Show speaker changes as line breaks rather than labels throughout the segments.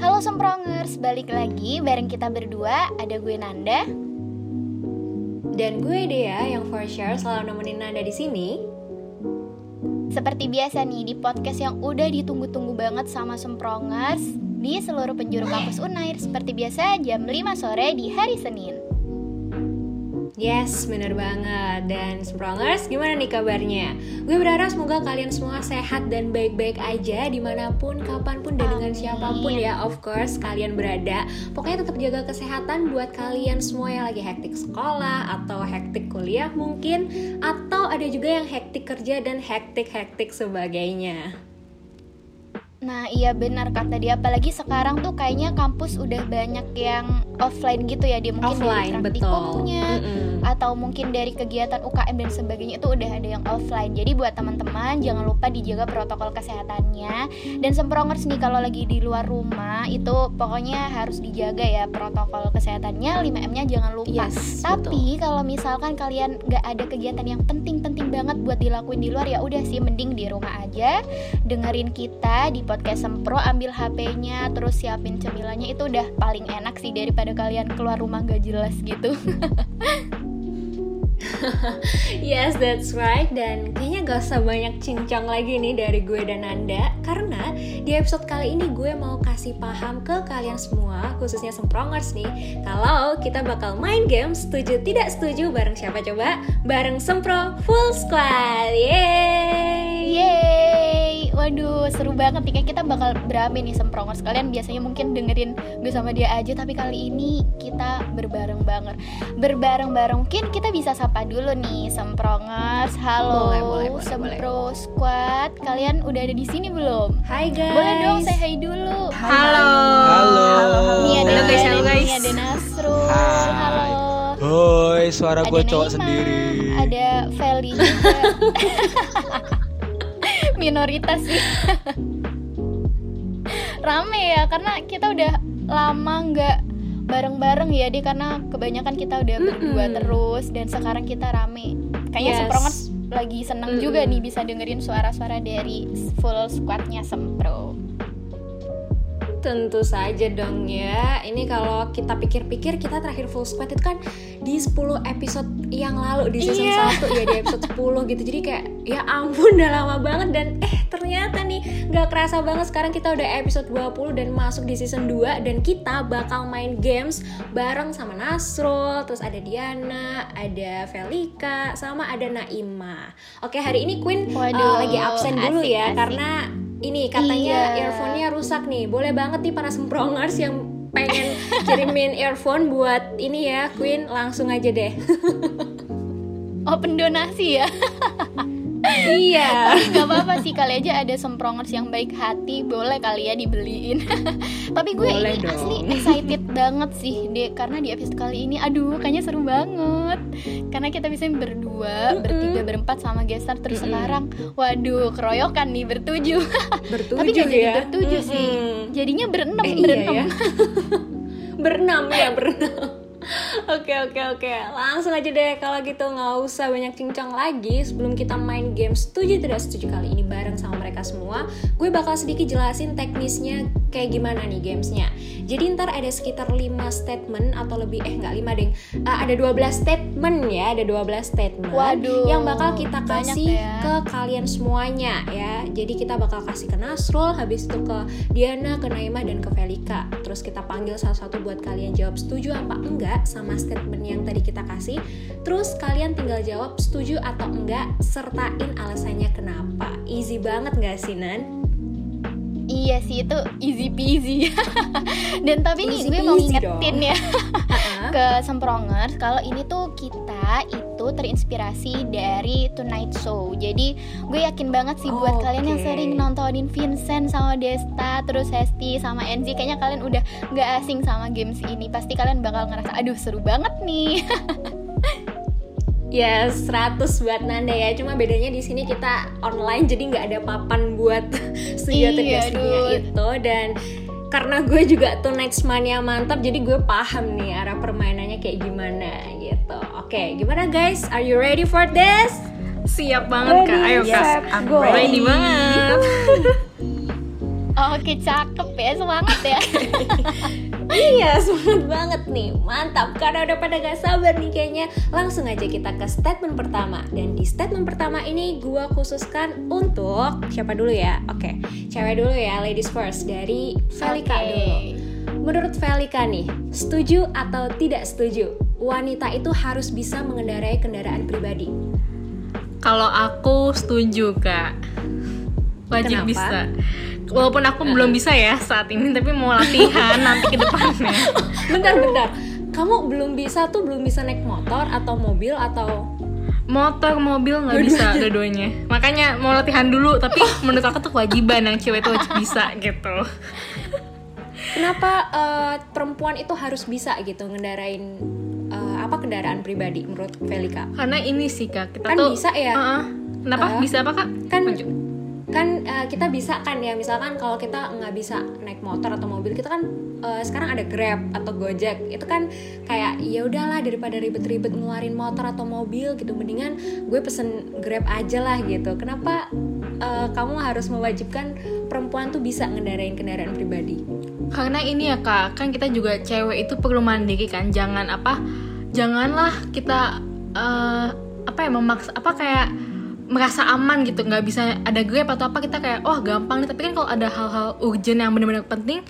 Halo Semprongers, balik lagi bareng kita berdua Ada gue Nanda
Dan gue Dea yang for sure selalu nemenin Nanda di sini.
Seperti biasa nih di podcast yang udah ditunggu-tunggu banget sama Semprongers Di seluruh penjuru kampus Unair Seperti biasa jam 5 sore di hari Senin
Yes, bener banget. Dan Sprongers, gimana nih kabarnya? Gue berharap semoga kalian semua sehat dan baik-baik aja dimanapun, kapanpun, dan dengan
Amin.
siapapun ya, of course, kalian berada. Pokoknya tetap jaga kesehatan buat kalian semua yang lagi hektik sekolah, atau hektik kuliah mungkin, atau ada juga yang hektik kerja dan hektik-hektik sebagainya.
Nah iya benar kata dia apalagi sekarang tuh kayaknya kampus udah banyak yang offline gitu ya dia mungkin
Offline,
dari
betul.
praktikumnya
Mm-mm.
atau mungkin dari kegiatan UKM dan sebagainya itu udah ada yang offline. Jadi buat teman-teman jangan lupa dijaga protokol kesehatannya dan semprongers nih kalau lagi di luar rumah itu pokoknya harus dijaga ya protokol kesehatannya 5M-nya jangan lupa.
Yes, Iya, betul.
Tapi kalau misalkan kalian nggak ada kegiatan yang penting-penting banget buat dilakuin di luar ya udah sih mending di rumah aja dengerin kita di podcast Sempro ambil HP-nya terus siapin cemilannya itu udah paling enak sih daripada kalian keluar rumah nggak jelas gitu.
Yes, that's right. Dan kayaknya gak usah banyak cincang lagi nih dari gue dan Nanda. Karena di episode kali ini gue mau kasih paham ke kalian semua, khususnya semprongers nih. Kalau kita bakal main game setuju tidak setuju bareng siapa coba? Bareng Sempro Full Squad. Yeay!
Yeay, waduh seru banget nih Kayaknya kita bakal berame nih semprongers Kalian biasanya mungkin dengerin gue sama dia aja Tapi kali ini kita berbareng banget Berbareng-bareng mungkin kita bisa sapa dulu nih semprongers Halo
Boleh, boleh, boleh,
sempro squad Kalian udah ada di sini belum?
Hai guys.
Boleh dong saya hai dulu
Halo.
Halo.
Ini ada
Halo, guys,
Deren,
halo, guys.
ini ada Nasrul
Hai.
Halo
Hoi, suara
Ada
gue cowok
Naima,
sendiri.
Ada Feli juga Minoritas sih Rame ya, karena kita udah lama nggak bareng-bareng ya deh Karena kebanyakan kita udah berdua
Mm-mm.
terus Dan sekarang kita rame Kayaknya
Yes.
Semprongers lagi seneng
Mm-mm.
juga nih bisa dengerin suara-suara dari full squadnya Sempro
Tentu saja dong ya. Ini kalau kita pikir-pikir kita terakhir full squad itu kan di 10 episode yang lalu di season
Iya.
1 ya di episode 10 gitu. Jadi kayak ya ampun udah lama banget dan eh ternyata nih nggak kerasa banget sekarang kita udah episode 20 dan masuk di season 2 dan kita bakal main games bareng sama Nasrul, terus ada Diana, ada Velika, sama ada Naima. Oke, hari ini Queen eh,
Waduh,
lagi absen dulu
asik,
ya
asik.
karena ini katanya
Iya.
earphone-nya rusak nih. Boleh banget nih para semprongers yang pengen kirimin earphone buat ini ya, Queen langsung aja deh.
Oh pendonasi ya
iya.
Tapi nggak apa-apa sih kali aja ada semprongers yang baik hati boleh kali ya dibeliin. Tapi gue
Boleh
ini
dong.
asli excited banget sih deh karena di episode kali ini aduh kayaknya seru banget. Karena kita bisa berdua,
Mm-mm.
bertiga, berempat sama gestar terus
Mm-mm.
sekarang waduh keroyokan nih bertujuh.
Bertujuh
Tapi nggak jadi
ya.
bertujuh sih.
Mm-mm.
Jadinya berenam,
Eh, iya
berenam.
ya. berenam ya, berenam. Oke oke oke, langsung aja deh kalau gitu nggak usah banyak cincang lagi sebelum kita main game setuju tidak setuju kali ini bareng sama mereka semua. Gue bakal sedikit jelasin teknisnya kayak gimana nih gamesnya. Jadi ntar ada sekitar 5 statement atau lebih eh nggak 5 ding, Eh, ada 12 statement ya, ada 12 statement
Waduh,
yang bakal kita
banyak
kasih
ya.
ke kalian semuanya ya. Jadi kita bakal kasih ke Nasrul, habis itu ke Diana, ke Naima dan ke Velika. Terus kita panggil satu-satu buat kalian jawab setuju apa enggak sama statement yang tadi kita kasih. Terus kalian tinggal jawab setuju atau enggak sertain alasannya kenapa. Easy banget nggak sih Nan?
Iya sih itu easy peasy. Dan tapi nih
Easy
gue mau
peasy
ngingetin
dong.
ya.
Ha-ha.
ke Semprongers kalau ini tuh kita itu terinspirasi dari Tonight Show. Jadi gue yakin banget sih buat
Oke.
kalian yang sering nontonin Vincent sama Desta, terus Hesti sama Enzi, kayaknya kalian udah nggak asing sama games ini. Pasti kalian bakal ngerasa aduh seru banget nih.
Ya 100 buat Nanda ya. Cuma bedanya di sini kita online jadi nggak ada papan buat studio
Iya,
tidak setuju
dude.
itu gitu. dan karena gue juga tuh next mania mantap jadi gue paham nih arah permainannya kayak gimana gitu. Oke, gimana guys? Are you ready for this?
Siap banget kak. Ayo kak.
I'm
Ready banget.
Oke, cakep ya, semangat ya.
Iya, semangat banget nih. Mantap, karena udah pada gak sabar nih kayaknya. Langsung aja kita ke statement pertama. Dan di statement pertama ini gua khususkan untuk siapa dulu ya? Oke, cewek dulu ya, ladies first dari Felika
Oke.
dulu. Menurut Felika nih, setuju atau tidak setuju? Wanita itu harus bisa mengendarai kendaraan pribadi.
Kalau aku setuju kak,
Kenapa?
wajib bisa. Walaupun aku belum bisa ya saat ini, tapi mau latihan nanti ke depannya.
Bentar, bentar. Kamu belum bisa tuh belum bisa naik motor atau mobil atau
Motor, mobil nggak bisa dua-duanya. Makanya mau latihan dulu, tapi
Oh.
menurut aku tuh kewajiban yang cewek tuh wajib bisa gitu.
Kenapa eh, perempuan itu harus bisa gitu ngendarain eh, apa kendaraan pribadi menurut Velika?
Karena ini sih kak, kita
Kan
tuh
bisa ya?
Heeh. Kenapa
Heeh.
bisa apa kak?
Kan
Lanjut.
kan eh, kita bisa kan ya misalkan kalau kita nggak bisa naik motor atau mobil kita kan eh, sekarang ada Grab atau Gojek itu kan kayak ya udahlah daripada ribet-ribet ngeluarin motor atau mobil gitu mendingan gue pesen Grab aja lah gitu. Kenapa eh, kamu harus mewajibkan perempuan tuh bisa ngendarain kendaraan pribadi?
Karena ini ya kak, kan kita juga cewek itu perlu mandiri kan, jangan apa, janganlah kita eh, apa ya memaksa apa kayak merasa aman gitu, nggak bisa ada grab atau apa kita kayak oh gampang nih, tapi kan kalau ada hal-hal urgent yang benar-benar penting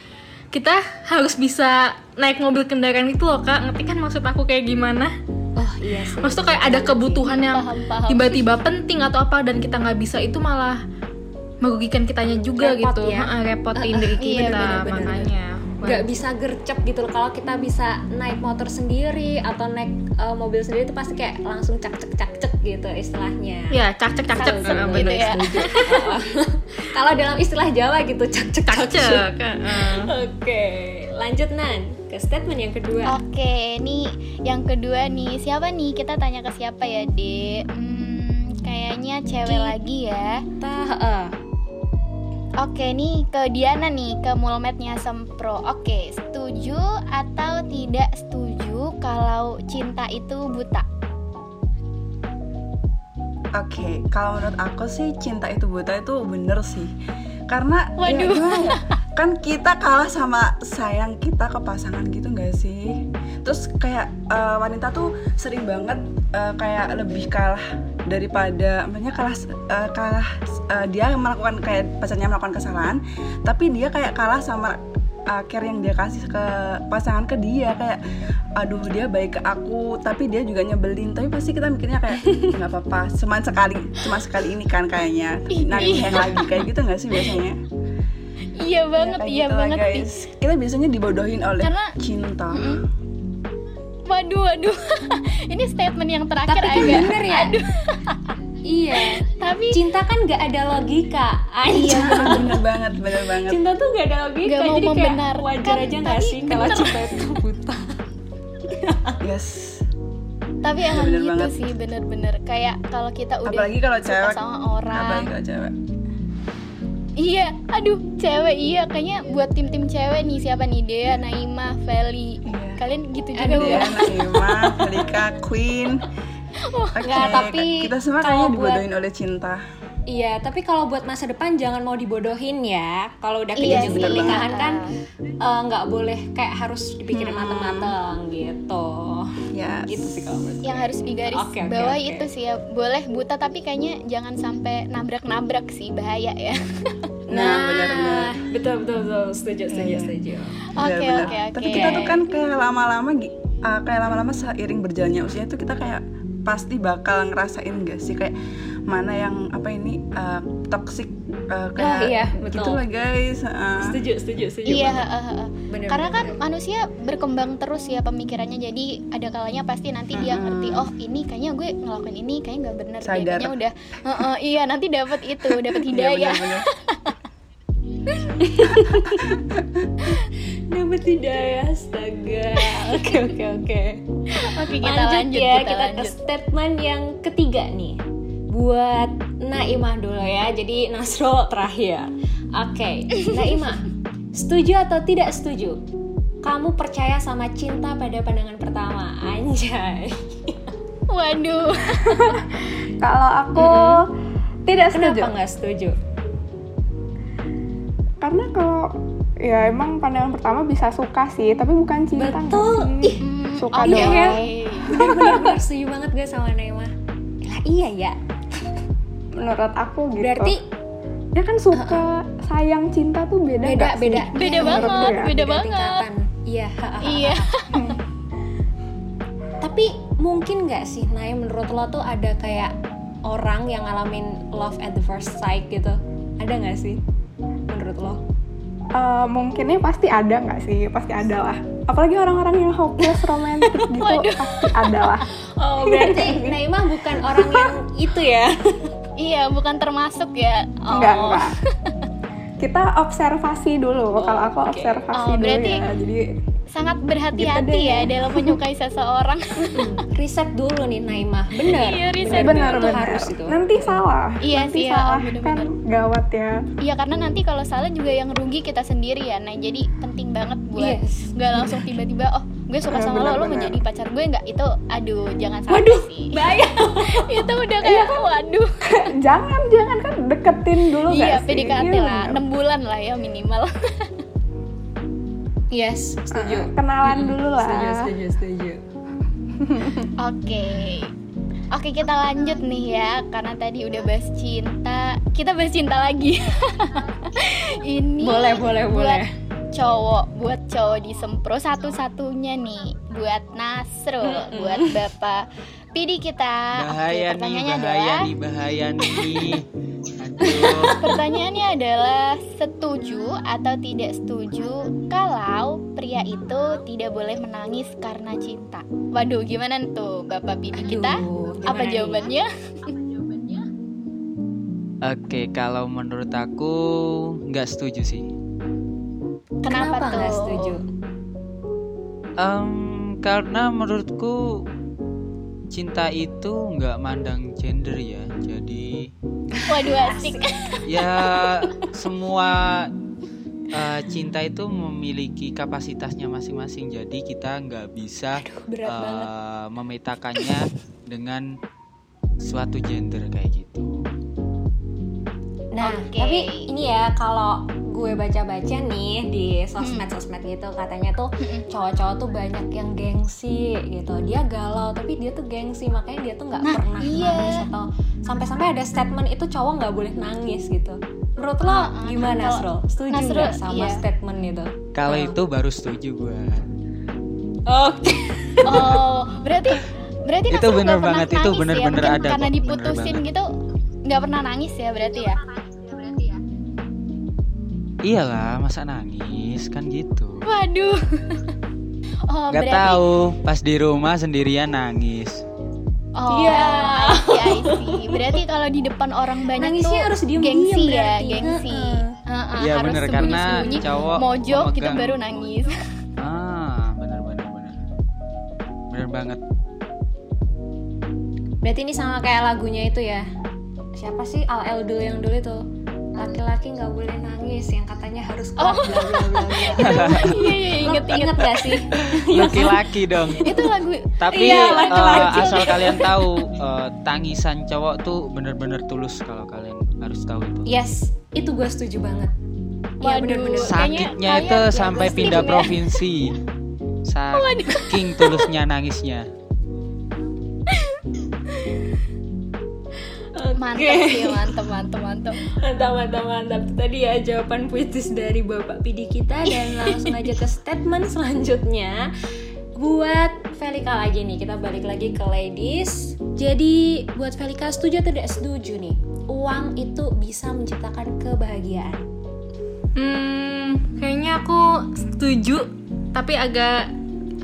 kita harus bisa naik mobil kendaraan itu loh kak, ngerti kan maksud aku kayak gimana?
Oh iya sih.
Maksudnya kayak ada kebutuhan yang
Paham, paham.
tiba-tiba penting atau apa dan kita nggak bisa itu malah merugikan kitanya juga
Repot
gitu,
ya.
Heeh, repotin diri
iya,
kita
benar-benar.
makanya.
nggak bisa gercep gitu loh kalau kita bisa naik motor sendiri atau naik eh, mobil sendiri itu pasti kayak langsung cak cek cak cek gitu istilahnya
Iya.
Ya, cak cek cak cek
Kalau
Heeh,
gitu
bener.
ya.
Setuju. Oh. kalau dalam istilah Jawa gitu cak cek
Cak
cak
cek.
cek
heeh.
oke lanjut Nan ke statement yang
Oh.
kedua
Oke, nih yang kedua nih siapa nih? Kita tanya ke siapa ya, Dek? Hmm, kayaknya cewek
Ki-
lagi ya.
kita eh,
Oke nih ke Diana nih ke mulmetnya Sempro. Oke, setuju atau tidak setuju kalau cinta itu buta?
Oke, kalau menurut aku sih cinta itu buta itu bener sih. Karena ya
Waduh.
gimana ya, kan kita kalah sama sayang kita ke pasangan gitu nggak sih? Terus kayak eh, wanita tuh sering banget eh, kayak lebih kalah daripada makanya kalah eh, kalah eh, dia melakukan kayak pacarnya melakukan kesalahan, tapi dia kayak kalah sama eh, care yang dia kasih ke pasangan ke dia kayak aduh dia baik ke aku tapi dia juga nyebelin tapi pasti kita mikirnya kayak nggak apa-apa cuman sekali cuma sekali ini kan kayaknya nanti yang lagi kayak gitu nggak sih biasanya
Iya banget,
kayak
iya
gitu lah,
banget. Pi.
guys kita biasanya dibodohin oleh
Karena-
cinta
Waduh, waduh. Ini statement yang terakhir
tapi kan
agak.
bener ya iya
Tapi
cinta kan nggak ada logika
iya
Anjay.
bener banget bener banget
cinta tuh nggak ada logika
Iya. Nggak mau
jadi kayak
membenarkan,
wajar aja nggak
tapi
sih kalau
bener.
cinta itu buta
yes
tapi emang
bener
gitu
banget.
sih bener-bener kayak kalau kita udah
apalagi kalau
suka
cewek
sama orang
apalagi kalau cewek
iya aduh cewek iya kayaknya buat tim-tim cewek nih siapa nih Dea Naima Feli
Iya.
kalian gitu juga
Aduh.
nggak?
Diana, Ima, Lika, Queen Oke,
Nggak, tapi
kita semua
kalau
kayaknya
buat-
dibodohin oleh cinta
Iya, tapi kalau buat masa depan jangan mau dibodohin ya. Kalau udah
Iya
kejadian
sih.
pernikahan kan eh, nggak boleh kayak harus dipikirin
Hmm.
mateng-mateng gitu.
Yes
Gitu sih kalau menurut
yang
gue.
harus digaris
Oke, oke,
bawahi
oke.
itu sih ya boleh buta tapi kayaknya jangan sampai nabrak-nabrak sih bahaya ya
Nah, benar-benar.
betul betul betul setuju setuju
Iya.
setuju.
oke
Benar-benar.
oke oke
Tapi kita tuh kan kayak lama-lama gi- uh, kayak lama-lama seiring berjalannya usia itu kita kayak pasti bakal ngerasain gak sih kayak mana yang apa ini uh, toxic
Oh,
uh, kayak
iya, betul.
gitu lah guys. Uh,
Setuju setuju setuju.
Iya,
banget.
heeh, heeh.
Bener,
karena
bener,
kan
bener.
manusia berkembang terus ya pemikirannya. Jadi ada kalanya pasti nanti dia ngerti, oh ini kayaknya gue ngelakuin ini kayaknya nggak bener. deh.
Sadar.
Kayaknya udah, heeh, iya nanti dapat itu, dapat
iya,
hidayah.
benar-benar.
Dapat tidak ya, astaga. Oke oke oke.
Oke kita
Lanjut,
lanjut,
ya,
kita,
kita,
lanjut.
ke statement yang ketiga nih. Buat Naimah dulu ya. Jadi Nasro terakhir. Oke, Naimah. Setuju atau tidak setuju? Kamu percaya sama cinta pada pandangan pertama? Anjay.
Waduh,
Kalau aku Oh, tidak setuju.
Kenapa nggak setuju?
karena kalau ya emang pandangan pertama bisa suka sih tapi bukan cinta nggak
Betul.
sih? suka
iya
doang
ya. Bener-bener setuju banget gue sama Naima. Lah iya ya.
menurut aku gitu
Berarti
ya kan suka sayang cinta tuh beda
beda
nggak sih?
beda. Iya.
Beda
banget,
beda
Beda
banget.
tingkatan. Iya. ha, ha, ha.
Iya.
Tapi mungkin nggak sih, Nay, menurut lo tuh ada kayak orang yang ngalamin love at the first sight gitu? Ada nggak sih? Menurut lo?
Eh, mungkinnya pasti ada nggak sih pasti ada lah apalagi orang-orang yang hopeless romantis gitu pasti ada lah
Oh, berarti Naima bukan orang yang itu ya?
Iya, bukan termasuk ya. Oh.
enggak enggak kita observasi dulu kalau aku observasi
Oh,
dulu
berarti-
ya jadi
Sangat berhati-hati
Gitu deh.
ya dalam menyukai seseorang.
riset dulu nih Naima, bener?
Iya, riset
Itu
benar-benar
harus itu.
nanti salah
Iya
nanti
sih, ya,
salah kan
benar-benar.
gawat ya
Iya, karena nanti kalau salah juga yang rugi kita sendiri ya. Nah, jadi penting banget buat
Yes.
nggak langsung tiba-tiba oh gue suka sama lo, lo mau
Benar-benar.
jadi pacar gue nggak? Itu aduh jangan sampai
Waduh,
sih.
bahaya.
itu udah
Iya
kayak
kan?
waduh.
Eh, jangan jangan kan deketin dulu
Iya,
nggak sih?
PDKT
Iya,
lah,
benar.
6 bulan lah ya minimal.
Yes, setuju.
Eh, kenalan dulu lah
setuju.
Oke. Oke, kita lanjut nih ya karena tadi udah bahas cinta. Kita bahas cinta lagi. Ini
Boleh, boleh, boleh.
buat cowok, buat cowok di Sempro satu-satunya nih buat Nasrul, buat Bapak Pidi kita.
Bahaya
Oke,
nih,
pertanyaannya ya.
bahaya
adalah
nih, bahaya nih. Aduh.
Pertanyaannya adalah setuju atau tidak setuju kalau pria itu tidak boleh menangis karena cinta. Waduh, gimana tuh Bapak Pidi kita? Apa jawabannya?
Oke, kalau menurut aku nggak setuju sih.
Kenapa,
Kenapa
tuh?
nggak setuju?
Em, karena menurutku cinta itu nggak mandang gender ya. Jadi
Waduh, asik.
ya semua eh, cinta itu memiliki kapasitasnya masing-masing. Jadi kita nggak bisa
Berat
eh,
banget.
memetakannya dengan suatu gender kayak gitu.
Nah,
Oke.
tapi ini ya kalau gue baca-baca nih di sosmed-sosmed gitu katanya tuh cowok-cowok tuh banyak yang gengsi gitu. Dia galau tapi dia tuh gengsi makanya dia tuh nggak pernah
iya.
nangis atau sampai-sampai ada statement itu cowok nggak boleh nangis gitu. Menurut lo
Ah, ah,
gimana,
kalau-
Nasrul? Setuju
Nasrul,
nggak sama
iya.
statement itu?
Kalau
Hmm.
itu baru setuju gua.
Oke.
Oh, berarti berarti
Itu
Nasrul nggak
bener
pernah
banget, itu
nangis ya?
bener-bener
Mungkin
ada
Karena
kok, bener
diputusin
banget.
gitu nggak pernah nangis ya berarti ya?
Iyalah, masa nangis kan gitu.
Waduh. Oh,
Gak
berarti
tahu, pas di rumah sendirian nangis.
Oh,
Iya.
I see, I see. Berarti kalau di depan orang banyak
Nangisnya
tuh
harus diem-diem
gengsi ya,
berarti.
gengsi. Heeh,
Iya
harus
bener karena
sembunyi-sembunyi,
cowok
mojok gitu
memegang.
baru nangis.
Ah, bener bener bener. Bener banget.
Berarti ini sama kayak lagunya itu ya. Siapa sih LL dulu yang dulu itu? Laki-laki nggak boleh nangis yang katanya harus kuat bla bla bla bla.
Iya, iya,
Lo
inget inget.
inget gak sih?
Laki-laki dong.
Itu lagu
Tapi
Iya,
eh,
laki-laki.
asal kalian tahu eh, tangisan cowok tuh bener-bener tulus kalau kalian harus tahu itu.
Yes, itu gue setuju banget. Iya
Waduh.
bener-bener
Kayaknya
Sakitnya itu
kalian
sampai
muslim
pindah
ya.
provinsi. Saking tulusnya nangisnya.
mantep sih, mantep, mantep, mantep.
Mantap, mantap, mantap. Itu Tadi ya jawaban puitis dari Bapak Pidi kita dan langsung aja ke statement selanjutnya. Buat Velika lagi nih, kita balik lagi ke ladies. Jadi buat Velika setuju atau tidak setuju nih? Uang itu bisa menciptakan kebahagiaan.
Hmm, kayaknya aku setuju, tapi agak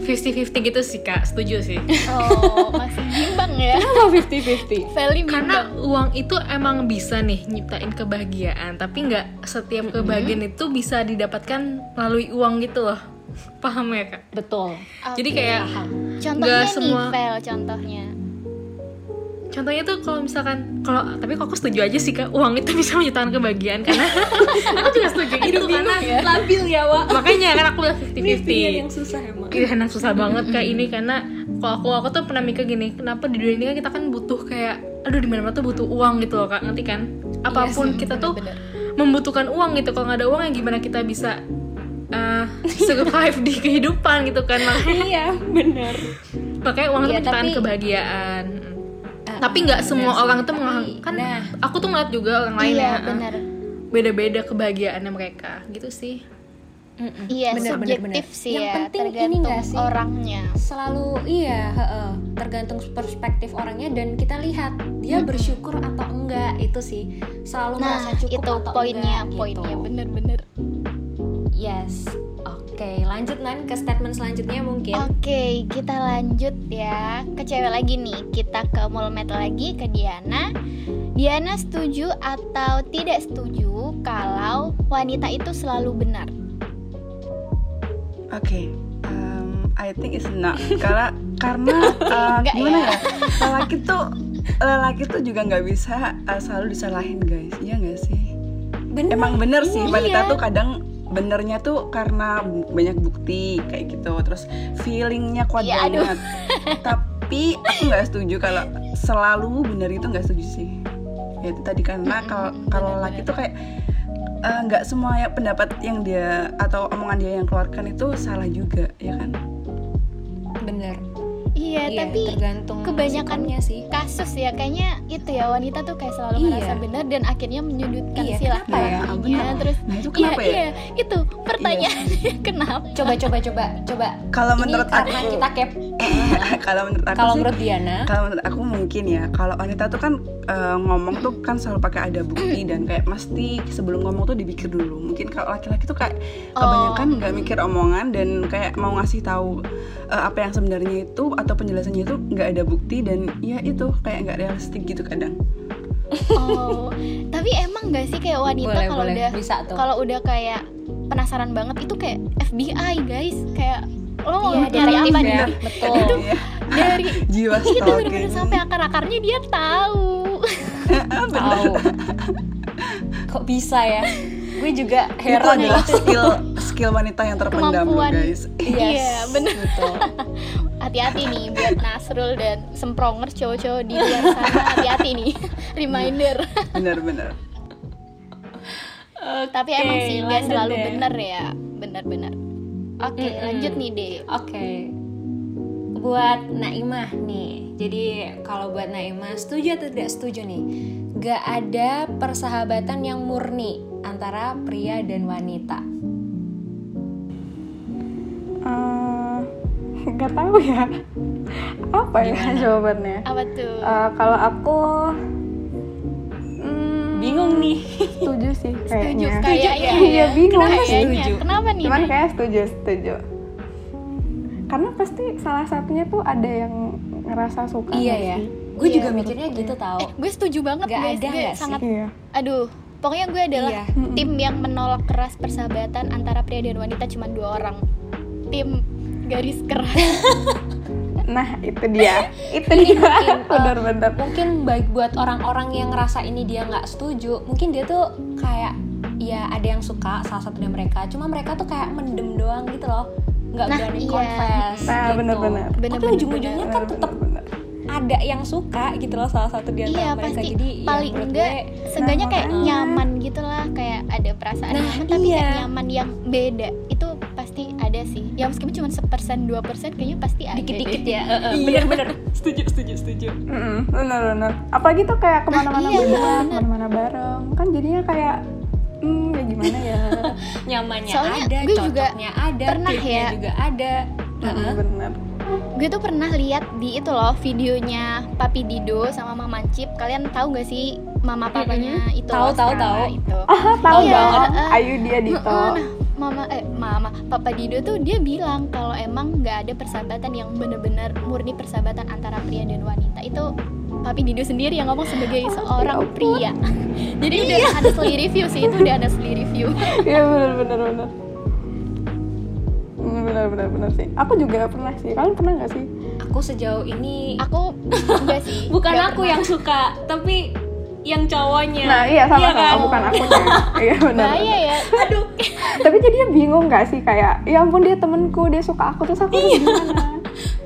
50-50 gitu sih kak, setuju sih.
Oh, masih bimbang ya.
Kenapa 50-50?
Feli bimbang.
Karena uang itu emang bisa nih nyiptain kebahagiaan, tapi nggak setiap kebahagiaan itu bisa didapatkan melalui uang gitu loh. Paham ya kak?
Betul.
Jadi kayak
Contohnya
nggak semua.
nih, Fel, contohnya.
contohnya tuh kalau misalkan kalau tapi kok aku setuju aja sih kak uang itu bisa menciptakan kebahagiaan karena aku juga setuju itu karena
Labil ya, Wak.
makanya kan aku udah
Ini pilihan
50-50
yang susah emang.
Ih, enak susah banget kayak ini karena kalau aku aku tuh pernah mikir gini kenapa di dunia ini kan kita kan butuh kayak aduh di mana mana tuh butuh uang gitu loh kak ngerti kan apapun kita tuh membutuhkan uang gitu kalau nggak ada uang ya gimana kita bisa eh, survive di kehidupan gitu kan Makanya-
iya bener
makanya uang itu
Iya,
penciptaan
tapi-
kebahagiaan
Ah,
tapi nggak semua orang tuh mengang- kan
nah.
aku tuh ngeliat juga orang lain
iya
ya eh,
benar
beda-beda kebahagiaannya mereka gitu sih
Mm-mm.
iya
Bener, bener, bener.
subjektif sih
Yang
ya
penting ini
tergantung
nggak sih?
orangnya
selalu iya heeh, tergantung perspektif orangnya dan kita lihat dia bersyukur atau enggak itu sih selalu merasa
nah
cukup
itu
atau
poinnya
enggak,
poinnya
gitu.
bener-bener
yes oke lanjut Nan ke statement selanjutnya mungkin
Oke, kita lanjut ya ke cewek lagi nih. Kita ke Mulmet lagi ke Diana. Diana setuju atau tidak setuju kalau wanita itu selalu benar?
Oke, um, I think it's not karena karena uh,
Enggak
gimana
ya?
ya lelaki tuh lelaki tuh juga nggak bisa uh, selalu disalahin guys, iya nggak sih?
bener
Emang bener sih
Iya.
wanita tuh kadang benernya tuh karena bu- banyak bukti kayak gitu, terus feelingnya kuat
Iya, aduh.
banget. Tapi aku nggak setuju kalau selalu bener itu nggak setuju sih. Ya itu tadi karena
Mm-mm,
kalau kalau
bener-bener.
lelaki tuh kayak uh, nggak semua ya pendapat yang dia atau omongan dia yang keluarkan itu salah juga ya kan?
bener
Iya,
iya
tapi
tergantung
kebanyakan-
sikapnya sih
kasus ya kayaknya itu ya wanita tuh kayak selalu
Iya.
merasa benar dan akhirnya menyudutkan
Iya,
si
kenapa
ya?
laki-lakinya.
Bener.
Terus
Nah itu
iya,
kenapa ya?
iya, itu pertanyaannya kenapa?
coba coba coba coba
Kalau
Ini
menurut
karena
aku-
kita kep
kalau menurut aku
kalau
sih,
menurut Diana
kalau menurut aku mungkin ya kalau wanita tuh kan eh, ngomong tuh kan selalu pakai ada bukti dan kayak mesti sebelum ngomong tuh dipikir dulu mungkin kalau laki-laki tuh kayak
Oh.
kebanyakan nggak mikir omongan dan kayak mau ngasih tahu eh, apa yang sebenarnya itu atau penjelasannya itu nggak ada bukti dan ya itu kayak nggak realistik gitu kadang
Oh, tapi emang gak sih kayak wanita
boleh
kalau
boleh Gitu.
udah
bisa tuh
kalau udah kayak penasaran banget itu kayak FBI guys kayak lo mau nyari
Iya, detektif
apa
ya.
nih
betul
Iya,
dari Oh.
jiwa
itu bener-bener
stalking
sampai akar akarnya dia tahu
kan
tahu kok bisa ya gue juga
itu
heran ya
adalah skill skill wanita yang terpendam loh
Kemampuan.
guys
Iya, bener.
betul
hati-hati nih buat Nasrul dan sempronger cowok-cowok di luar sana hati-hati nih reminder
bener-bener
tapi emang
Oke,
sih dia
lanjut
selalu
deh.
bener ya bener-bener oke
Mm-mm.
lanjut nih deh
Oke. Buat Naimah nih. Jadi kalau buat Naimah setuju atau tidak setuju nih? Gak ada persahabatan yang murni antara pria dan wanita.
Eh, nggak tahu ya apa ya jawabannya
apa tuh
Eh, kalau aku hmm,
Bingung nih.
setuju sih
setuju
kayaknya
kayaknya
Iya, bingung.
kenapa
Kayaknya.
setuju kenapa nih
cuman
Nay?
kayak setuju setuju karena pasti salah satunya tuh ada yang ngerasa suka
iya
nggak
ya.
sih?
Gue
Iya,
juga
menurut
mikirnya gitu
eh
tau.
gue setuju banget
Nggak
guys
ada
gue
nggak sih?
sangat
iya
aduh pokoknya gue adalah
Iya.
Mm-mm.
tim yang menolak keras persahabatan antara pria dan wanita cuma dua orang tim garis keras
nah itu dia itu dia
mungkin, eh,
bener-bener
Mungkin baik buat orang-orang yang ngerasa ini dia nggak setuju, mungkin dia tuh kayak ya ada yang suka salah satu dari mereka, cuma mereka tuh kayak mendem doang gitu loh, nggak
Nah,
berani
iya.
confess.
Nah,
gitu.
bener-bener.
Tapi
Bener-bener.
ujung-ujungnya kan tetap
Bener-bener.
ada yang suka gitu loh salah satu di antara
iya nah,
mereka
pasti
jadi ya,
paling
menurut
enggak
gue,
seenggaknya kayak
makanya.
nyaman gitulah kayak ada perasaan
Nah,
nyaman tapi nggak
iya.
nyaman yang beda itu pasti ada sih ya meskipun cuma sepersen dua persen kayaknya pasti ada
dikit-dikit
deh.
ya eh, eh, bener-bener setuju setuju setuju
Mm-mm, bener-bener apalagi tuh kayak kemana-mana
iya,
bareng
bener.
kemana-mana bareng kan jadinya kayak hmm ya gimana ya
nyamannya
Soalnya
ada
gue juga
cocoknya ada
pernah
fitnya
ya.
juga ada
Mm,
Heeh.
bener
gue tuh pernah lihat di itu loh videonya Papi Dido sama Mama Cip kalian tahu gak sih mama papanya itu loh,
Tahu, tahu,
Skala
tahu. Oh,
itu
ah tahu
Iya,
dong
eh.
Ayu dia Dito
Heeh, nah, mama eh mama papa Dido tuh dia bilang kalau emang nggak ada persahabatan yang benar-benar murni persahabatan antara pria dan wanita itu papi Dido sendiri yang ngomong sebagai
ya
seorang pria jadi udah
Iya.
ada seli review sih itu udah ada seli review
Iya benar benar benar. Benar benar benar benar sih. Aku juga pernah sih. Kalian pernah nggak sih?
aku sejauh ini
aku enggak sih
bukan
nggak
aku
pernah.
yang suka tapi yang cowoknya
Nah iya sama sama.
kan?
Bukan aku Iya benar.
bahaya ya
aduh
Tapi jadinya bingung nggak sih kayak, ya ampun dia temenku, dia suka aku terus aku harus gimana?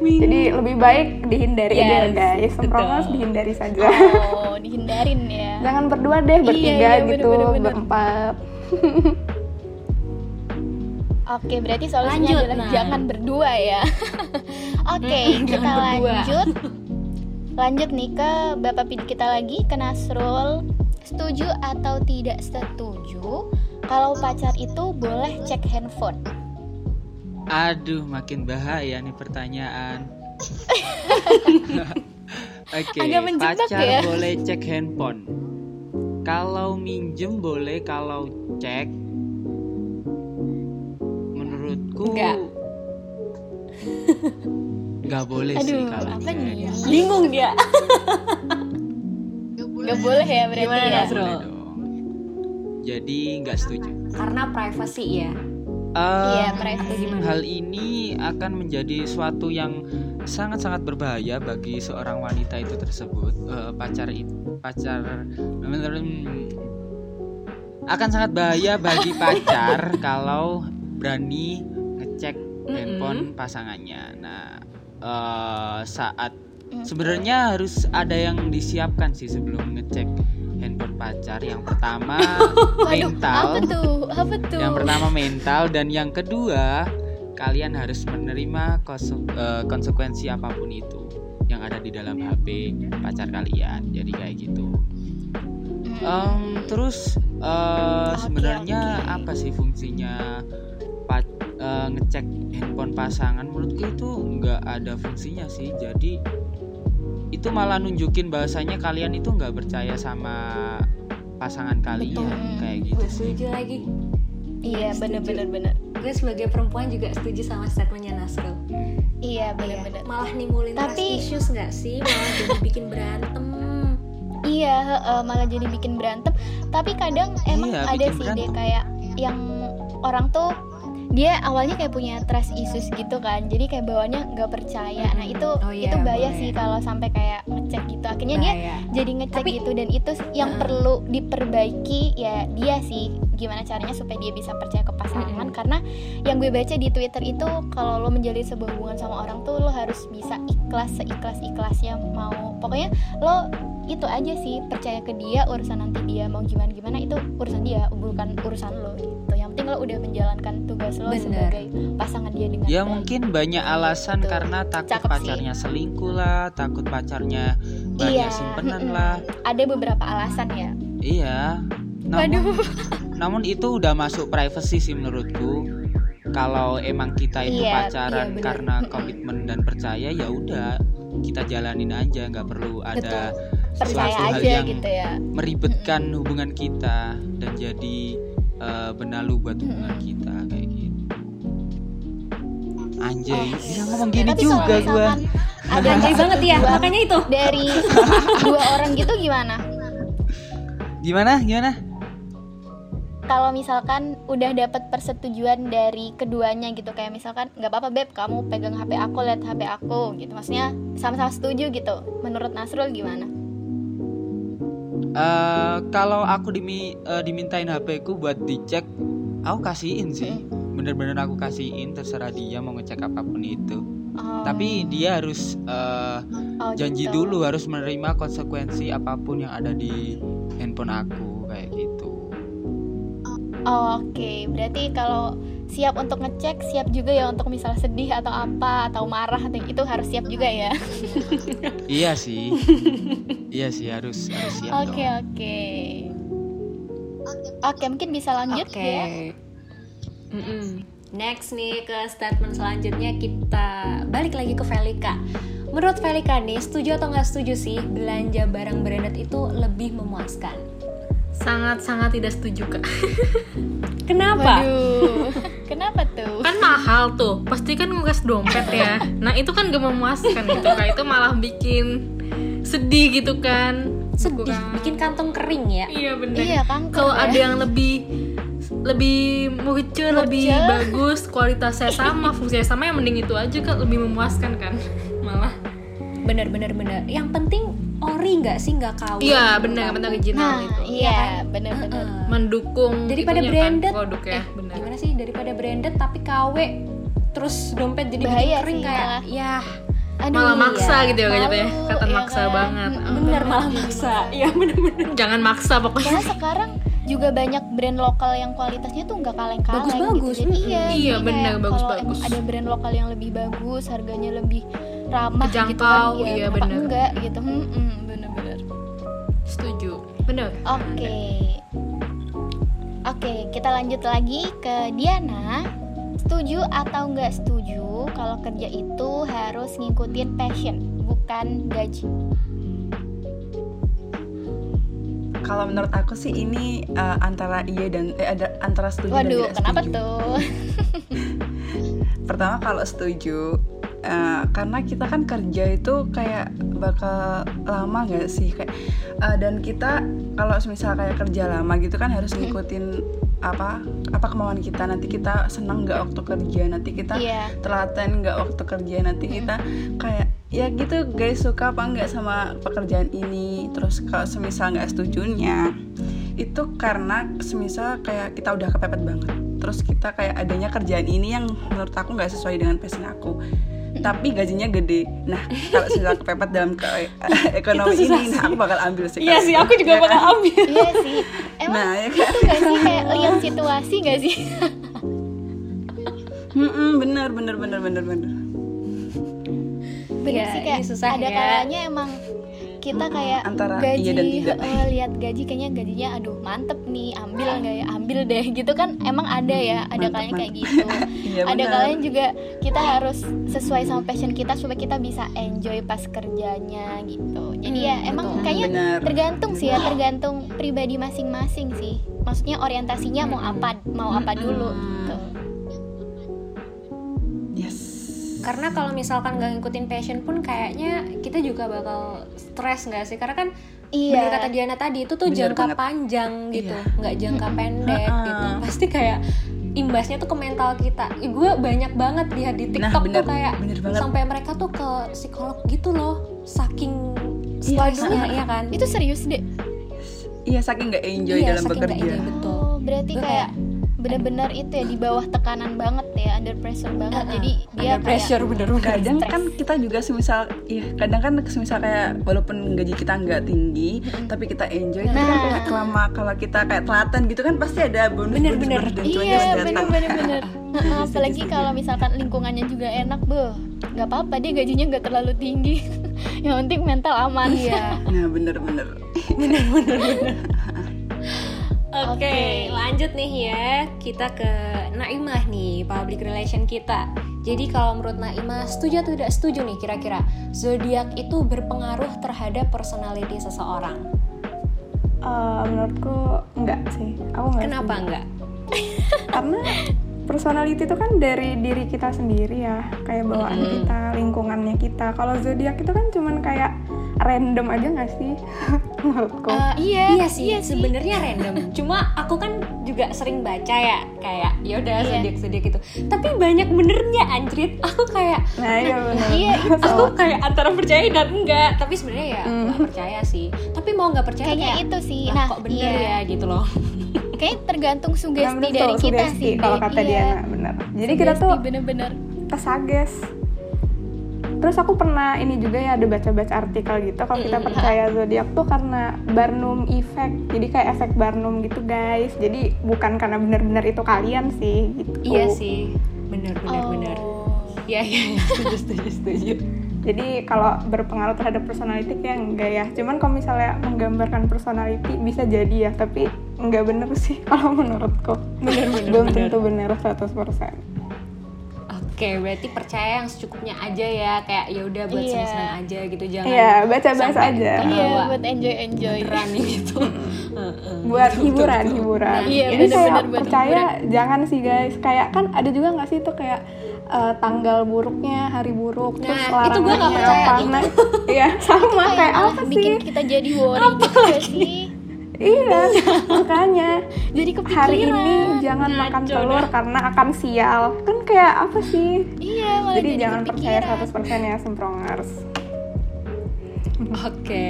Jadi lebih baik dihindari aja
Yes,
guys. Semprongos
betul.
dihindari saja.
Oh, dihindarin ya.
Jangan berdua deh, bertiga
iya,
gitu,
bener-bener.
berempat.
Oke, berarti solusinya
Lanjut,
adalah
Nan.
jangan berdua ya. Oke, kita
jangan berdua.
lanjut. Lanjut nih ke Bapak Pidi kita lagi ke Nasrul. Setuju atau tidak setuju kalau pacar itu boleh cek handphone?
Aduh, makin bahaya nih pertanyaan. Oke,
Agak menjebak
pacar
ya.
boleh cek handphone. Kalau minjem boleh, kalau cek menurutku
Enggak.
Enggak boleh Iya sih
Aduh,
kalau
apa
cek.
nih?
Bingung dia.
Gak boleh ya berarti
Gimana,
ya.
Nggak boleh dong. Jadi nggak setuju.
Karena privacy ya.
Iya,
Eh,
privacy.
Hal ini akan menjadi suatu yang sangat-sangat berbahaya bagi seorang wanita itu tersebut. Eh, pacar itu pacar hmm, akan sangat bahaya bagi pacar kalau berani ngecek handphone pasangannya. Nah, eh, saat sebenarnya harus ada yang disiapkan sih sebelum ngecek handphone pacar. Yang pertama
Waduh, apa
mental.
tuh? Apa tuh?
Yang pertama mental dan yang kedua kalian harus menerima konse- eh, konsekuensi apapun itu yang ada di dalam HP pacar kalian. Jadi kayak gitu.
Hmm.
Em, terus eh,
Oke,
sebenarnya
oke.
apa sih fungsinya pa- eh, ngecek handphone pasangan? Menurutku itu nggak ada fungsinya sih. Jadi itu malah nunjukin bahasanya kalian itu nggak percaya sama pasangan kalian
Betul.
kayak gitu.
Gue setuju lagi.
Iya, bener-bener bener.
Gue sebagai perempuan juga setuju sama statementnya Nasrul.
Iya, bener-bener.
Malah nimbulin trust
Tapi-
issues nggak sih? Malah jadi bikin berantem.
Iya, heeh, malah jadi bikin berantem. Tapi kadang emang
Iya,
ada
bikin
sih deh
berantem.
kayak yang orang tuh dia awalnya kayak punya trust issues gitu kan. Jadi kayak bawaannya nggak percaya. Nah, itu
Oh iya,
itu bahaya
boleh.
sih kalau sampai kayak ngecek gitu. Akhirnya dia
Bahaya.
jadi ngecek
Tapi- Ah.
gitu dan itu yang
Heeh.
perlu diperbaiki ya dia sih gimana caranya supaya dia bisa percaya ke pasangan karena yang gue baca di Twitter itu kalau lo menjalin sebuah hubungan sama orang tuh lo harus bisa ikhlas seikhlas ikhlasnya mau pokoknya lo itu aja sih percaya ke dia urusan nanti dia mau gimana gimana itu urusan dia bukan urusan lo gitu yang penting lo udah menjalankan tugas lo
Bener.
sebagai pasangan dia dengan baik.
Ya mungkin banyak alasan
Betul.
karena takut
Cakep sih.
pacarnya selingkuh lah, takut pacarnya banyak
Iya,
simpenan
mm-mm.
lah.
ada beberapa alasan ya
Iya. Namun,
waduh
namun itu udah masuk privacy sih menurutku. Kalau emang kita itu
Iya,
pacaran
iya, bener.
karena
Mm-mm.
komitmen dan percaya ya udah kita jalanin aja nggak perlu ada
percaya
sesuatu hal
aja
yang
gitu ya
meribetkan hubungan kita dan jadi eh, benalu buat hubungan kita kayak gitu. Anjing,
Oke.
ya ngomong
Oh, Tapi kan?
gini
kalau
juga gua.
misalkan ada
Ganjil banget ya,
Dua-
makanya itu.
dari dua orang gitu gimana?
Gimana? Gimana?
Kalau misalkan udah dapat persetujuan dari keduanya gitu kayak misalkan nggak apa-apa beb kamu pegang HP aku lihat HP aku gitu maksudnya sama-sama setuju gitu. Menurut Nasrul gimana?
Eh, kalau aku dimi, eh, dimintain HP ku buat dicek, aku kasihin sih. Bener-bener aku kasihin, terserah dia mau ngecek apapun itu.
Oh,
Tapi dia harus eh,
oh
janji
gitu.
dulu, harus menerima konsekuensi apapun yang ada di handphone aku kayak gitu.
Oh, Oke, berarti kalau siap untuk ngecek, siap juga ya untuk misalnya sedih atau apa atau marah atau- itu harus siap juga ya.
Iya sih, iya sih harus harus siap dong.
Oke oke. Oke mungkin bisa lanjut
Oke.
ya.
Mm-mm. Next nih ke statement selanjutnya kita balik lagi ke Velika. Menurut Velika nih, setuju atau nggak setuju sih belanja barang branded itu lebih memuaskan?
sangat-sangat tidak setuju kak
Kenapa?
Waduh, kenapa tuh?
kan mahal tuh pasti kan nguras dompet ya nah itu kan gak memuaskan gitu kak itu malah bikin sedih gitu kan
Sedih, ya.
Kurang-
bikin kantong kering ya.
iya bener
Iya kan
kalau ada yang lebih lebih murce, lebih bagus kualitasnya sama fungsinya sama yang mending itu aja kan lebih memuaskan kan malah
Bener bener bener. Yang penting ori nggak sih nggak kawin. gitu kan?
iya bener bener original
Nah,
itu
iya, bener-bener.
Heeh.
mendukung
Nah, daripada
itunya kan,
branded
produknya
eh,
bener
iya.
gimana sih daripada branded tapi KW terus dompet jadi bikin
Bahaya
kering
sih,
kayak
malah.
ya
Aduh, iya
Malah maksa gitu ya, kayak gitu ya.
malu,
Kata maksa banget.
Mm,
bener malah maksa ya bener-bener
Jangan maksa pokoknya.
Karena sekarang juga banyak brand lokal yang kualitasnya tuh nggak kaleng-kaleng
Bagus-bagus,
gitu. Jadi
mm-mm.
iya,
Iya,
jadi
bener,
kayak kalau
bagus-bagus.
emang ada brand lokal yang lebih bagus, harganya lebih ramah gitu
Terjangkau,
kan, ya,
iya,
kenapa
bener.
enggak gitu. Hmm, bener-bener.
Setuju. Bener.
Oke. Oke, kita lanjut lagi ke Diana. Setuju atau nggak setuju kalau kerja itu harus ngikutin passion, bukan gaji.
Kalau menurut aku sih ini eh, antara iya dan eh, ada antara setuju dan
Waduh,
tidak
kenapa
setuju.
tuh?
Pertama kalau setuju eh, karena kita kan kerja itu kayak bakal lama gak sih kayak eh, dan kita kalau misal kayak kerja lama gitu kan harus ngikutin apa apa kemauan kita nanti kita senang nggak waktu kerja nanti kita
Iya.
telaten nggak waktu kerja nanti kita kayak ya gitu guys suka apa nggak sama pekerjaan ini terus kalau semisal nggak setujunya itu karena semisal kayak kita udah kepepet banget terus kita kayak adanya kerjaan ini yang menurut aku nggak sesuai dengan passion aku tapi gajinya gede nah kalau semisal kepepet dalam ke- eh, ekonomi
Itu susah
ini nah, aku bakal ambil sih
iya
kalau
sih
itu.
aku juga
Ya
bakal
kan?
ambil
Iya sih. Emang
nah ya
itu
kan
nggak sih kayak lihat situasi nggak sih?
Mm-mm, bener bener bener bener bener
Bener
Ya,
sih kayak
ini susah
ada
ya.
kalanya emang kita kayak
Antara
gaji
iya dan tidak.
heeh, lihat gaji kayaknya gajinya aduh mantep nih ambil
Iya.
nggak ya ambil deh gitu kan emang ada ya ada
Mantep,
kalanya kayak
mantep.
gitu
Iya,
ada
benar.
kalanya juga kita harus sesuai sama passion kita supaya kita bisa enjoy pas kerjanya gitu jadi ya
Hmm,
emang
betul. Iya.
kayaknya
Benar.
tergantung sih ya tergantung pribadi masing-masing sih maksudnya orientasinya mau apa mau apa dulu
Hmm.
gitu
yes
karena kalau misalkan gak ngikutin passion pun kayaknya kita juga bakal stres nggak sih karena kan
Iya.
bener kata Diana tadi itu tuh
Iya. Bener
jangka
banget.
panjang gitu
Iya.
nggak jangka pendek
Heeh.
gitu pasti kayak imbasnya tuh ke mental kita gue banyak banget lihat di
Nah,
TikTok
bener-
tuh kayak
bener banget.
sampai mereka tuh ke psikolog gitu loh saking stresnya iya kan
itu serius deh
Iya saking nggak enjoy
Iya,
dalam
saking nggak
bekerja.
enjoy. Betul.
Oh, berarti
Gue
kayak bener-bener itu ya di bawah tekanan banget ya, under pressure banget.
Uh-uh,
Jadi dia
under pressure bener-bener
Kadang
Stres.
kan kita juga semisal, iya kadang kan semisal kayak walaupun gaji kita nggak tinggi, tapi kita enjoy. Nah. Kan
Nah.
kayak kelama kalau kita kayak telaten gitu kan pasti ada bonus
Bener-bener.
bonus, bonus dan
kayak
cuannya
iya
harus datang.
bener-bener bener. Heeh,
gitu Setuju,
Apalagi
setuju.
kalau misalkan lingkungannya juga enak, beuh nggak apa-apa dia gajinya nggak terlalu tinggi. Yang penting mental aman ya.
Nah bener-bener.
Oke,
Oke.
lanjut nih ya. Kita ke Naimah nih, public relation kita. Jadi kalau menurut Naimah, setuju atau tidak setuju nih kira-kira zodiak itu berpengaruh terhadap personality seseorang?
Eh, menurutku enggak sih aku enggak
Kenapa
setuju.
enggak?
karena personality itu kan dari diri kita sendiri ya kayak bawaan
Mm-hmm.
Mm-mm.
kita lingkungannya kita kalau zodiak itu kan cuman kayak random aja nggak sih menurutku
Eh, iya,
iya sih, sebenarnya random. Cuma aku kan juga sering baca ya, kayak yaudah
Iya.
zodiak-zodiak gitu. Tapi banyak benernya anjrit. Aku kayak
nah iya benar
Iya,
aku kayak antara percaya dan enggak. Tapi sebenarnya ya
Hmm.
nggak percaya sih. Tapi mau nggak percaya
Kayaknya
kayak,
itu sih.
"Lah,
Nah,
kok bener
iya.
ya gitu loh.
Kayaknya tergantung
Nah,
sugesti
bener
dari
tuh,
kita
sugesti
sih.
kalau
Dek.
kata
Iya,
Diana benar jadi kita
sugesti,
tuh
bener-bener.
kesages terus aku pernah ini juga ya ada baca-baca artikel gitu kalau kita
Mm-hmm.
Mm-mm.
percaya zodiak tuh karena Barnum effect jadi kayak efek Barnum gitu guys jadi bukan karena benar-benar itu kalian sih gitu
Iya sih, benar benar benar.
Oh.
Iya iya, setuju setuju setuju.
Jadi kalau berpengaruh terhadap personality kayak enggak ya. Cuman kalau misalnya menggambarkan personality bisa jadi ya, tapi enggak bener sih kalau menurutku.
Bener bener.
Belum
bener.
tentu bener 100%.
Oke, berarti percaya yang secukupnya aja ya, kayak ya udah buat
Iya.
senang-senang aja gitu, jangan
Iya, baca-baca
sampai gitu.
aja.
terbawa
Iya, buat enjoy-enjoy.
berani gitu. Heeh.
Buat hiburan, hiburan.
Nah, iya,
Jadi
bener-bener
saya
buat
percaya jangan sih guys. Kayak kan ada juga nggak sih itu kayak eh, tanggal buruknya, hari buruk, terus
Nah, itu
larangannya
gua nggak percaya. gitu.
apa. Nah, iya, sama kayak,
Kayak malah
apa
bikin
sih?
kita jadi worry gitu gak sih?
Iya,
gitu.
makanya.
Jadi kepikiran.
hari ini jangan makan
Ngaco
telur karena akan sial kan kayak apa sih
Iya, malah
jadi, jangan percaya
kepikiran.
100% ya semprongers
Oke,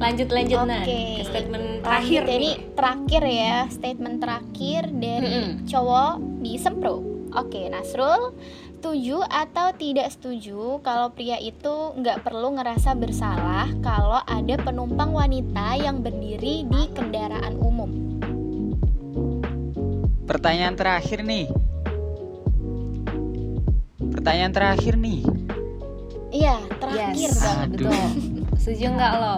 lanjut lanjut Nan
Oke.
ke statement terakhir
Lanjut, ini
nih
terakhir ya statement terakhir dari
Mm-mm.
cowok di Sempro oke Nasrul setuju atau tidak setuju kalau pria itu nggak perlu ngerasa bersalah kalau ada penumpang wanita yang berdiri di kendaraan umum
Pertanyaan terakhir nih. Pertanyaan terakhir nih.
iya terakhir
Yes.
banget
Aduh.
betul setuju nggak lo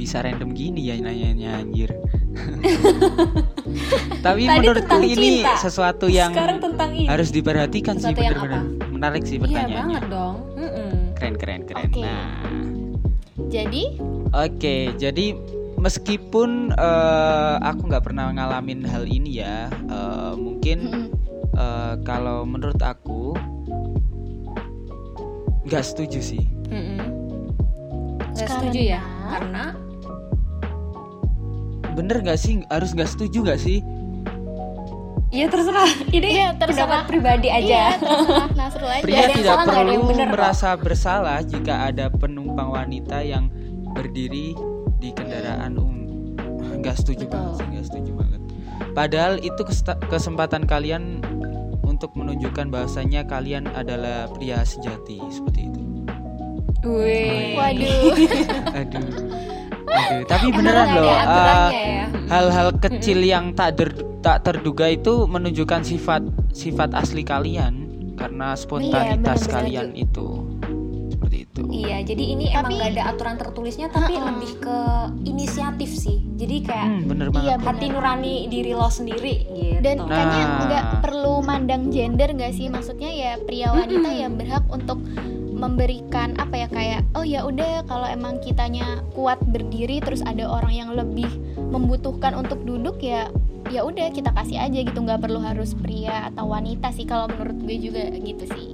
Bisa random gini ya nanyanya anjir.
Tadi
Tapi menurutku
tentang
ini
cinta.
sesuatu yang
sekarang tentang ini
harus diperhatikan sih
Sesuatu yang
benar-benar. Menarik sih
iya
pertanyaannya.
banget dong Mm-mm.
keren keren keren.
Oke.
Nah.
jadi
Oke, jadi meskipun eh, aku nggak pernah ngalamin hal ini ya, eh, mungkin
mm-mm.
eh, kalau menurut aku nggak setuju sih.
Mm-mm. Nggak
Karena-
setuju ya karena
Bener nggak sih? Harus nggak setuju nggak sih?
Iya terserah ini
Iya,
pendapat
terserah.
pribadi
iya
aja
terserah Nasrul aja
Pria
Iya, ada yang salah, nggak
tidak
ada yang
perlu
bener kok.
merasa bersalah jika ada penumpang wanita yang berdiri di kendaraan umum. Ah, Nggak setuju
Betul.
banget sih, nggak setuju banget. Padahal itu kesta- kesempatan kalian untuk menunjukkan bahwasannya kalian adalah pria sejati seperti itu.
Wih.
waduh
Aduh. Aduh, tapi beneran
Emang ada
loh. eh,
aturannya ya
hal-hal kecil yang tak der- tak terduga itu menunjukkan sifat sifat asli kalian karena
benar-benar
spontanitas kalian itu seperti itu
Iya, jadi ini emang
Tapi-
gak ada aturan tertulisnya, tapi
Uh-uh.
lebih ke inisiatif sih. Jadi kayak
Hmm, bener banget
iya
hati
bener.
nurani diri lo sendiri gitu.
dan kayaknya
Nah.
nggak perlu mandang gender nggak sih maksudnya ya pria wanita ya berhak untuk memberikan apa ya kayak oh ya udah kalau emang kitanya kuat berdiri terus ada orang yang lebih membutuhkan untuk duduk ya ya udah kita kasih aja gitu nggak perlu harus pria atau wanita sih kalau menurut gue juga gitu sih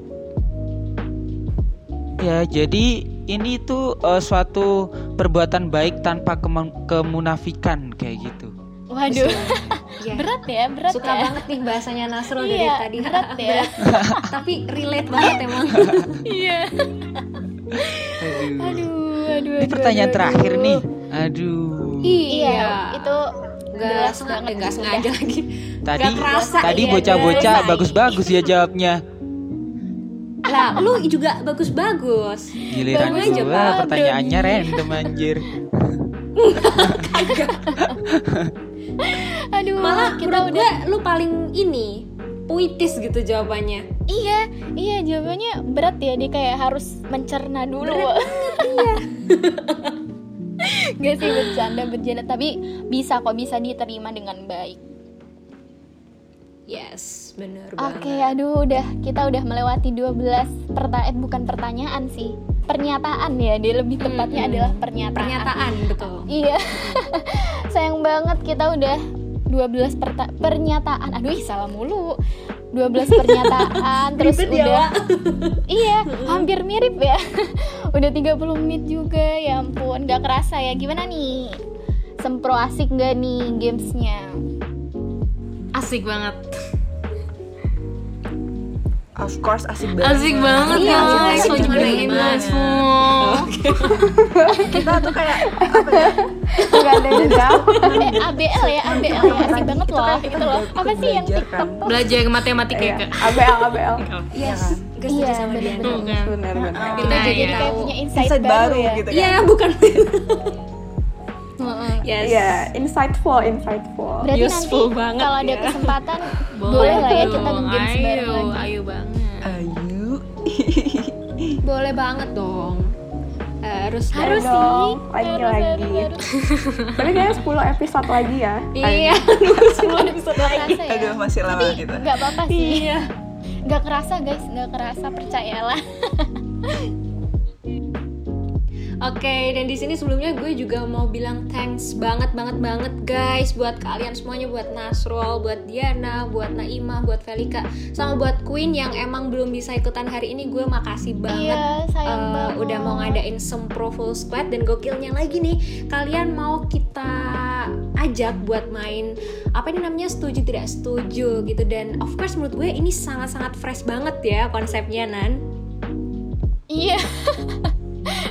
ya jadi ini tuh eh, suatu perbuatan baik tanpa kema- kemunafikan kayak gitu
waduh
Iya.
berat ya berat
Suka
ya
banget nih bahasanya Nasrul dari
Iya,
tadi.
berat ya
tapi relate banget emang.
iya
aduh,
aduh aduh
ini
aduh,
pertanyaan
aduh,
terakhir
aduh.
nih aduh
iya itu
Gak
jelas
sengaja,
banget
gak
sih,
sengaja lagi.
tadi
kerasa,
tadi
iya,
bocah-bocah
guys.
bagus-bagus ya jawabnya
Lah, lu juga bagus-bagus.
giliran
Bagus aja,
gue
Pak.
pertanyaannya random anjir
aduh
Malah
kita
menurut
udah
gue lu paling ini puitis gitu jawabannya.
Iya, iya jawabannya berat ya dia kayak harus mencerna dulu. Gak sih bercanda bercanda tapi bisa kok bisa diterima dengan baik.
Yes, bener banget.
Oke, aduh udah kita udah melewati 12 pertanyaan eh, bukan pertanyaan sih. Pernyataan ya, dia lebih tepatnya
Mm-mm.
adalah pernyataan.
Pernyataan betul.
Iya. Sayang banget kita udah 12 perta- pernyataan. Aduh, ih, salah mulu. 12 pernyataan terus
Ribet
udah
ya,
Iya, hampir mirip ya. Udah 30 menit juga, ya ampun, nggak kerasa ya. Gimana nih? Sempro asik nggak nih gamesnya?
asik banget
Of course asik banget.
asik banget
Iya,
guys
asik
kok cuma
banget.
dengerin langsung
Kita tuh kayak apa ya?
nggak ada yang jauh
Eh, ABL ya, ABL ya, asik banget
Itu
loh,
kan kita
gitu loh.
udah
Apa sih yang
belajar
TikTok
kan.
tuh?
belajar matematika ya kak
ABL ABL
Yes, gak setuju
Iya,
sama
bener-bener.
Diana.
tuh kan
Benar-benar.
Kita
Nah,
jadi
iya.
Kayak
tahu.
punya insight,
Insight baru
ya.
gitu kan.
Iya, bukan.
Heeh.
yes.
Iya, insightful, insightful.
Berarti
Useful
nanti
banget
kalau ada
ya.
kesempatan boleh lah ya kita
dong,
games bareng
ayo
lagi.
ayo banget
Ayu.
Boleh banget dong. Harus dong.
Harus sih.
Dong, lagi, lagi. Tapi kayaknya 10 episode lagi ya.
Iya, sebelum episode lagi.
Kerasa ya.
Aduh masih lama gitu."
Tapi
kita.
nggak apa-apa sih.
Iya.
Nggak kerasa guys, nggak kerasa percayalah.
Oke, dan di sini sebelumnya gue juga mau bilang thanks banget banget banget guys buat kalian semuanya buat Nasrul, buat Diana, buat Naima, buat Velika, sama buat Queen yang emang belum bisa ikutan hari ini. Gue makasih banget
Iya, sayang
Eh,
banget.
udah mau ngadain sempro full squad dan gokilnya lagi nih kalian mau kita ajak buat main apa ini namanya setuju tidak setuju gitu dan of course menurut gue ini sangat-sangat fresh banget ya konsepnya Nan
Iya.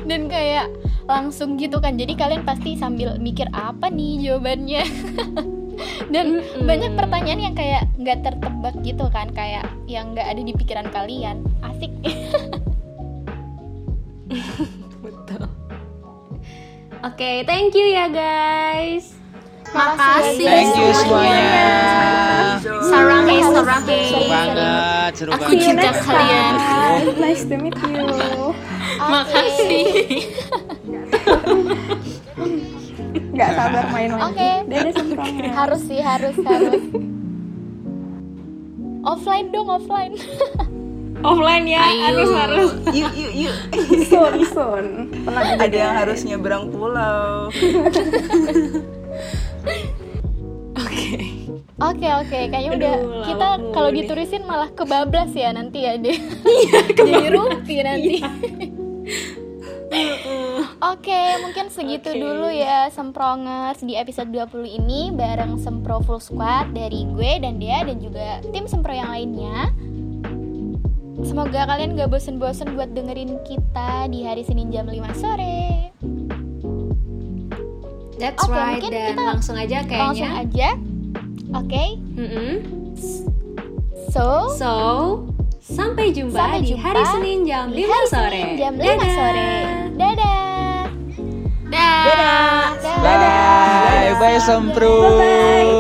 Dan kayak langsung gitu kan jadi kalian pasti sambil mikir apa nih jawabannya dan
Mm-mm.
banyak pertanyaan yang kayak nggak tertebak gitu kan kayak yang nggak ada di pikiran kalian asik
Betul. Oke, thank you ya guys.
Iya,
Makasih.
Thank you semuanya.
Sarange, sarange.
Seru banget, seru
Iya,
Iya,
Aku
banget.
cinta
Seru
kalian.
banget.
Nice to meet you.
Makasih.
Nggak sabar main lagi.
Oke.
Dadah semprongnya.
harus sih harus harus offline dong offline
Offline ya, harus harus.
Yuk, yuk, yuk.
Soon, soon. Tenang aja,
Ada yang
ya.
guys.
harus nyebrang pulau.
oke oke kayaknya udah
Aduh, lama
kita kalau
mulu nih. Iya,
ditulisin malah kebablas ya nanti ya deh jadi rumpi nanti Oke, mungkin segitu
Oke.
dulu ya Semprongers di episode 20 ini bareng Sempro Full Squad dari gue dan dia dan juga tim Sempro yang lainnya. Semoga kalian gak bosen-bosen buat dengerin kita di hari Senin jam 5 sore.
That's
Oke,
right.
mungkin
Dan
kita
langsung aja
Langsung
kayaknya.
aja. Oke.
Mm-mm.
So,
So, sampai jumpa,
Sampai
di hari
jumpa
Senin jam
di
5
hari
sore.
Senin jam 5
Dadah.
sore. Dadah.
Dah.
Dadah.
Bye, bye sempro.
Bye.